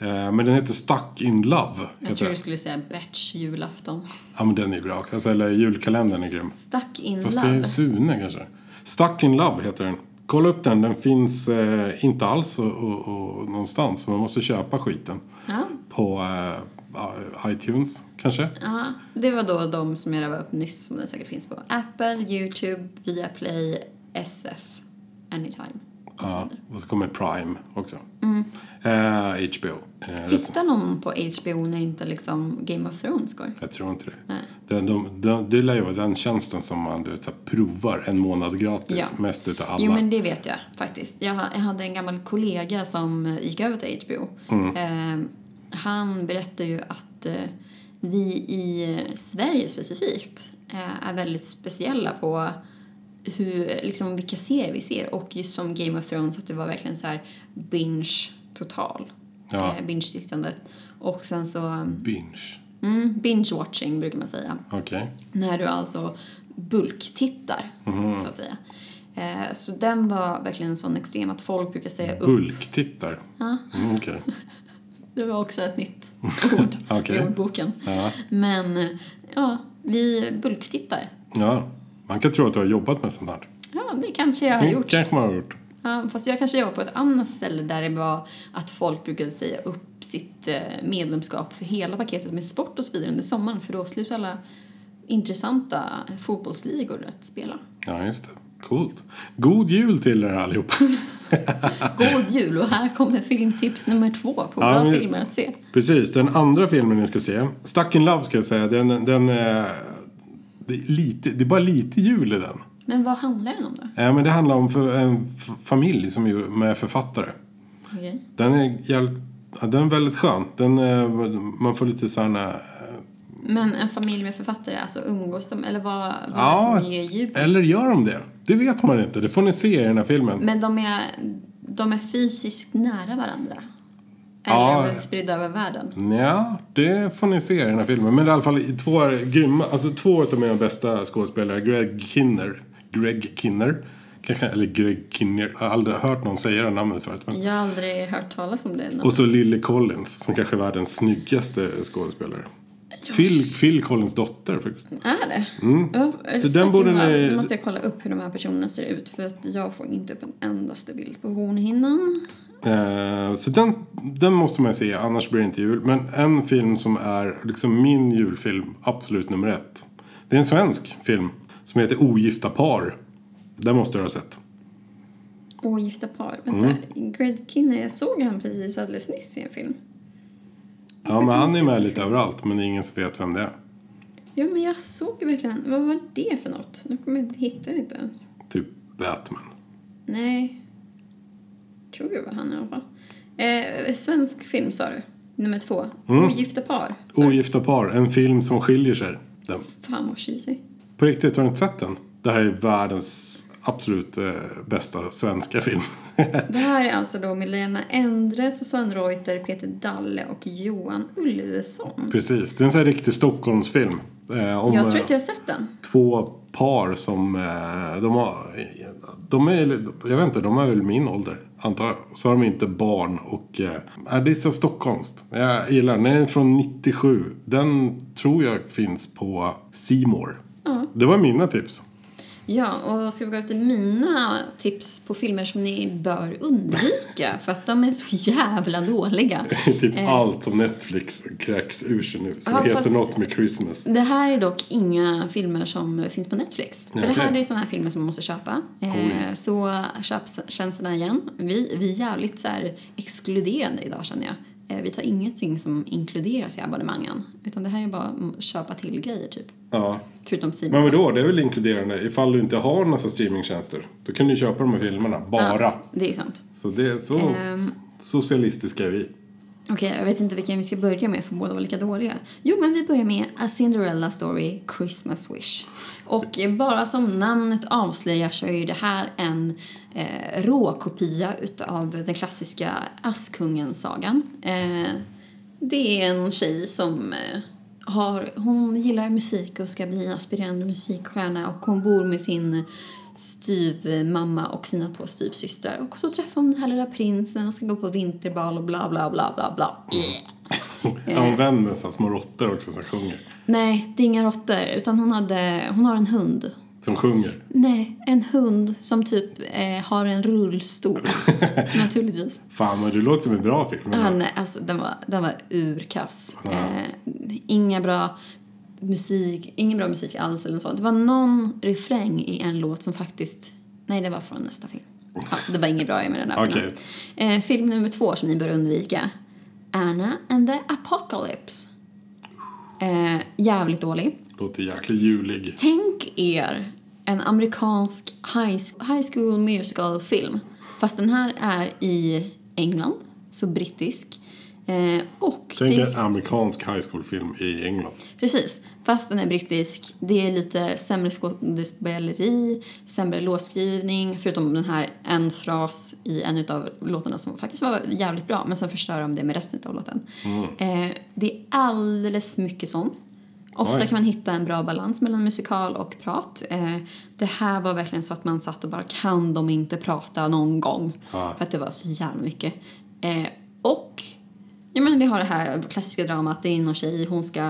Eh, men den heter Stuck in Love. Jag heter tror den. du skulle säga Batch julafton. Ja men den är bra. Alltså, eller julkalendern är grym. Stuck in Fast det love. är Sune kanske. Stuck in Love heter den. Kolla upp den, den finns eh, inte alls och, och, och någonstans. Man måste köpa skiten. Ja. På eh, iTunes kanske. Ja, det var då de som jag rabblade upp nyss som det säkert finns på Apple, Youtube, Viaplay, SF, Anytime och så Mm. Ja, vidare. och så kommer Prime också. Eh, HBO. Eh, resten- Tittar någon på HBO när inte liksom Game of Thrones går? jag tror inte det. Det, de, de, det lär ju vara den tjänsten som man du vet, så här, provar en månad gratis. Ja. Mest utav alla. Jo, men det vet jag faktiskt. Jag, ha- jag hade en gammal kollega som gick över till HBO. Eh, han berättade ju att eh, vi i Sverige specifikt eh, är väldigt speciella på hur, liksom, vilka serier vi ser. Och just som Game of Thrones, att det var verkligen så här binge total. Ja. Eh, Binge-tittandet. Och sen så... mm, Binge. binge-watching brukar man säga. Okej. När du alltså bulktittar, så att säga. Eh, så den var verkligen en sån extrem att folk brukar säga upp. Bulktittar. Mm, Okej. Det var också ett nytt ord i Okej. ordboken. Men eh, ja, vi bulktittar. Ja. Man kan tro att du har jobbat med sånt här. Ja, det kanske jag har Mm, gjort. kanske man har gjort. Ja, fast jag kanske jobbar på ett annat ställe där det var att folk brukade säga upp sitt eh, medlemskap för hela paketet med sport och så vidare under sommaren för då slutar alla intressanta fotbollsligor att spela. Ja, just det. Coolt. God jul till er allihopa. God jul och här kommer filmtips nummer två på Ja, bra men- filmer att se. Precis, den andra filmen ni ska se. Stuck in Love ska jag säga. Den, den, eh, det, är lite, det är bara lite jul i den. Men vad handlar den om då? Eh, men det handlar om för, en f- familj som är ju- med författare. Okej. Den är, jävligt- ja, den är väldigt skön. Den, eh, man får lite eh, sådana... Men en familj med författare, alltså umgås de eller vad, vad är Ja, det som ger djup? eller gör de det? Det vet man inte. Det får ni se i den här filmen. Men de är, de är fysiskt nära varandra? Eller Ja. är de spridda över världen? Ja, det får ni se i den här filmen. Men i alla fall i två är grymma, alltså två av mina bästa skådespelare, Greg Kinner. Greg Kinner. Kanske, eller Greg Kinner. Jag har aldrig hört någon säga det namnet förut. Men... Jag har aldrig hört talas om det. Och så Lily Collins, som kanske är världens snyggaste skådespelare. Phil, Phil Collins dotter faktiskt. Är det? Ja, Mm. Så stack den borde in här. ni- Då måste jag kolla upp hur de här personerna ser ut för att jag får inte upp en endaste bild på hornhinnan. Eh, så den, den måste man se, annars blir det inte jul. Men en film som är liksom min julfilm, absolut nummer ett. Det är en svensk film som heter Ogifta par. Den måste du ha sett. Ogifta par. Vänta, Mm. Greg Kinner, jag såg han precis alldeles nyss i en film. Ja, men han är med lite överallt, men det är ingen som vet vem det är. Ja, men jag såg verkligen. Vad var det för något? Nu kommer jag inte hitta det inte ens. Typ Batman. Nej. Tror jag var han i alla fall. Eh, svensk film sa du. Nummer två. Ogifta par. Så, Ogifta par, en film som skiljer sig. Den. Fan vad cheesy. På riktigt, har du inte sett den? Det här är världens absolut eh, bästa svenska film. Det här är alltså då Milena Endre, Susanne Reuter, Peter Dalle och Johan Ulveson. Precis, det är en sån här riktig Stockholmsfilm. Eh, om, Jag tror eh, inte jag har sett den. två par som eh, de har, de är, jag vet inte, de är väl min ålder antar jag. Så har de inte barn och, eh, nej, det är så stockholmskt. Jag gillar den, den är från 97. Den tror jag finns på Simor. Det var mina tips. Ja, och ska vi gå efter mina tips på filmer som ni bör undvika för att de är så jävla dåliga. typ Eh. allt som Netflix kräks ur sig nu. Som Ja, heter fast- något med Christmas. Det här är dock inga filmer som finns på Netflix. För det här Okej. är sådana här filmer som man måste köpa. Eh, så köp s- tjänsterna igen. Vi, vi är jävligt så här exkluderande idag känner jag. Eh, vi tar ingenting som inkluderas i abonnemangen. Utan det här är bara mm, köpa till grejer typ. Ja. Förutom Simon. Men vadå, det är väl inkluderande? Ifall du inte har en massa streamingtjänster. Då kan du köpa de här filmerna, bara. Det är sant. Så det är så Ehm. socialistiska är vi. Okej, jag vet inte vilken vi ska börja med för båda var lika dåliga. Jo, men vi börjar med A Cinderella Story Christmas Wish. Och eh, bara som namnet avslöjar så är ju det här en eh, råkopia utav den klassiska Askungen-sagan. Eh, det är en tjej som eh, har, hon gillar musik och ska bli aspirerande musikstjärna och hon bor med sin styvmamma och sina två styvsystrar. Och så träffar hon den här lilla prinsen och ska gå på vinterbal och bla bla bla bla bla. Eh. Använd med så här små råttor också som sjunger. Nej, det är inga råttor utan hon, hade, hon har en hund. Som sjunger. Nej, en hund som typ eh, har en rullstol. Naturligtvis. Fan vad du låter som en bra film. Ja, nej, alltså, den, var, den var urkass. Eh, inga bra musik, ingen bra musik alls eller något sånt. Det var någon refräng i en låt som faktiskt... Nej, det var från nästa film. Ja, det var inget bra med den här filmen. Eh, film nummer två som ni bör undvika. Anna and the Apocalypse. Eh, jävligt dålig. Låter jäkligt julig. Tänk er en amerikansk high, high school musical-film. Fast den här är i England, så brittisk. Eh, och Tänk det- en amerikansk high school-film i England. Precis. Fast den är brittisk, det är lite sämre skådespeleri, sämre låtskrivning, förutom den här en fras i en av låtarna som faktiskt var jävligt bra, men sen förstör de det med resten av låten. Mm. Eh, det är alldeles för mycket sånt. Ofta Oj. kan man hitta en bra balans mellan musikal och prat. Eh, det här var verkligen så att man satt och bara kan de inte prata någon gång? Ja. För att det var så jävla mycket. Eh, och Ja, men vi har det här klassiska dramat. Det är någon tjej, hon ska,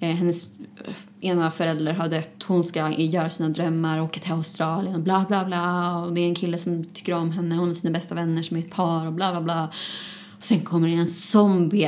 eh, hennes eh, ena förälder har dött. Hon ska göra sina drömmar, åka till Australien och bla bla bla. Och det är en kille som tycker om henne, hon är sina bästa vänner som är ett par och bla bla bla. Och sen kommer det en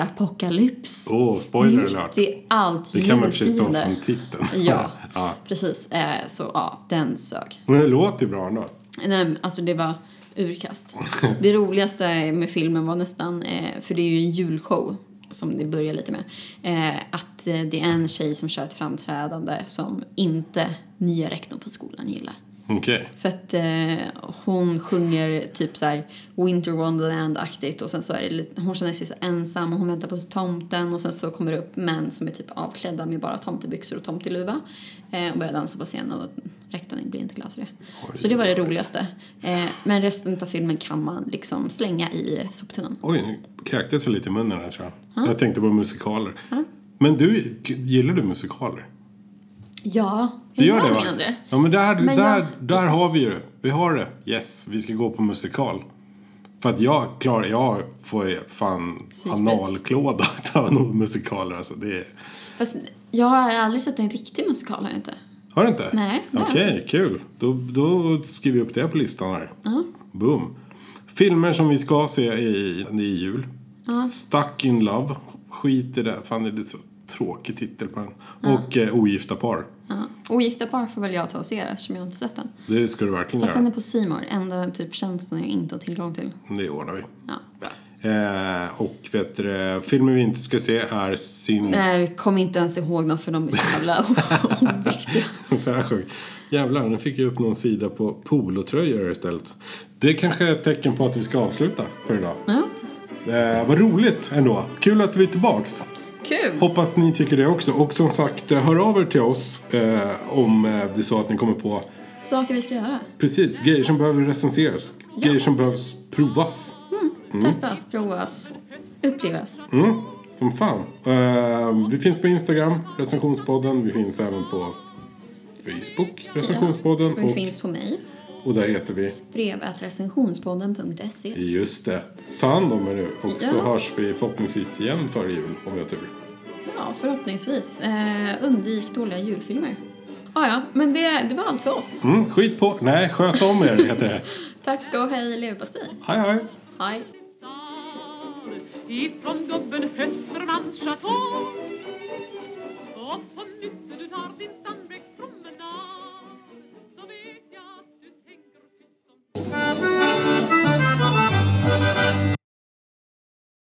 zombieapokalyps. Åh, spoiler Mitt alert. i allt Det kan man i och för sig stå ljudfiende. från titeln. Ja, Ja. precis. Eh, så ja, den sög. Men det låter ju bra ändå. Nej, men alltså det var urkast. Det roligaste med filmen var nästan, eh, för det är ju en julshow som det börjar lite med, eh, att eh, det är en tjej som kör ett framträdande som inte nya rektorn på skolan gillar. Okej. För att eh, hon sjunger typ så här Winter Wonderland-aktigt och sen så är det lite, hon känner sig så ensam och hon väntar på tomten och sen så kommer det upp män som är typ avklädda med bara tomtebyxor och tomteluva eh, och börjar dansa på scenen och rektorn blir inte glad för det. Så det var det roligaste. Eh, men resten av filmen kan man liksom slänga i soptunnan. Oj, nu kräktes jag lite i munnen här tror jag. Jag tänkte på musikaler. Men du, gillar du musikaler? Ja, Du gör jag det va? menar det. Ja men där, Men där, jag- där har vi ju det. Vi har det. Yes, vi ska gå på musikal. För att jag klarar, jag får ju fan Psykbryt. analklåda utav några musikaler alltså. Det är... Fast jag har aldrig sett en riktig musikal har jag inte. Har du inte? Nej, det har jag Okej, kul. Då, då skriver vi upp det på listan här. Boom. Filmer som vi ska se i, i jul. Stuck in love. Skit i det. Fan, det är så tråkig titel på den. Och eh, Ogifta par. Ja. Ogifta par får väl jag ta och se det eftersom jag inte sett den. Det ska du verkligen Fast den göra. är på Simor, enda typ tjänsten jag inte har tillgång till. Det ordnar vi. Ja. Eh, och vet du, det, filmer vi inte ska se är sin... Nej, jag kommer inte ens ihåg dem för de är så jävla oviktiga. Så här sjukt. Jävlar, nu fick jag upp någon sida på polotröjor istället. Det är kanske är ett tecken på att vi ska avsluta för idag. Ja, Eh, vad roligt ändå. Kul att vi är tillbaks. kul! Hoppas ni tycker det också. Och som sagt, eh, hör av er till oss eh, om eh, det är så att ni kommer på Saker vi ska göra. precis grejer som behöver recenseras. Grejer som behövs provas. Mm. Testas, provas, upplevas. Som fan. Eh, vi finns på Instagram, recensionspodden. Vi finns även på Facebook, recensionspodden. Och det finns på mig, Och, och där heter vi brevatrecensionspodden.se. Just det. Ta hand om er nu. Och så Ja. hörs vi förhoppningsvis igen före jul om vi har tur. Ja, förhoppningsvis. Eh, undvik dåliga julfilmer. Ja, ja, men det, det var allt för oss. Mm, skit på. Nej, sköt om er heter det. Tack och hej leverpastej. Hej, hej. Hej. stan ifrån gubben Höstermans chateau. Så på nytt du tar din dans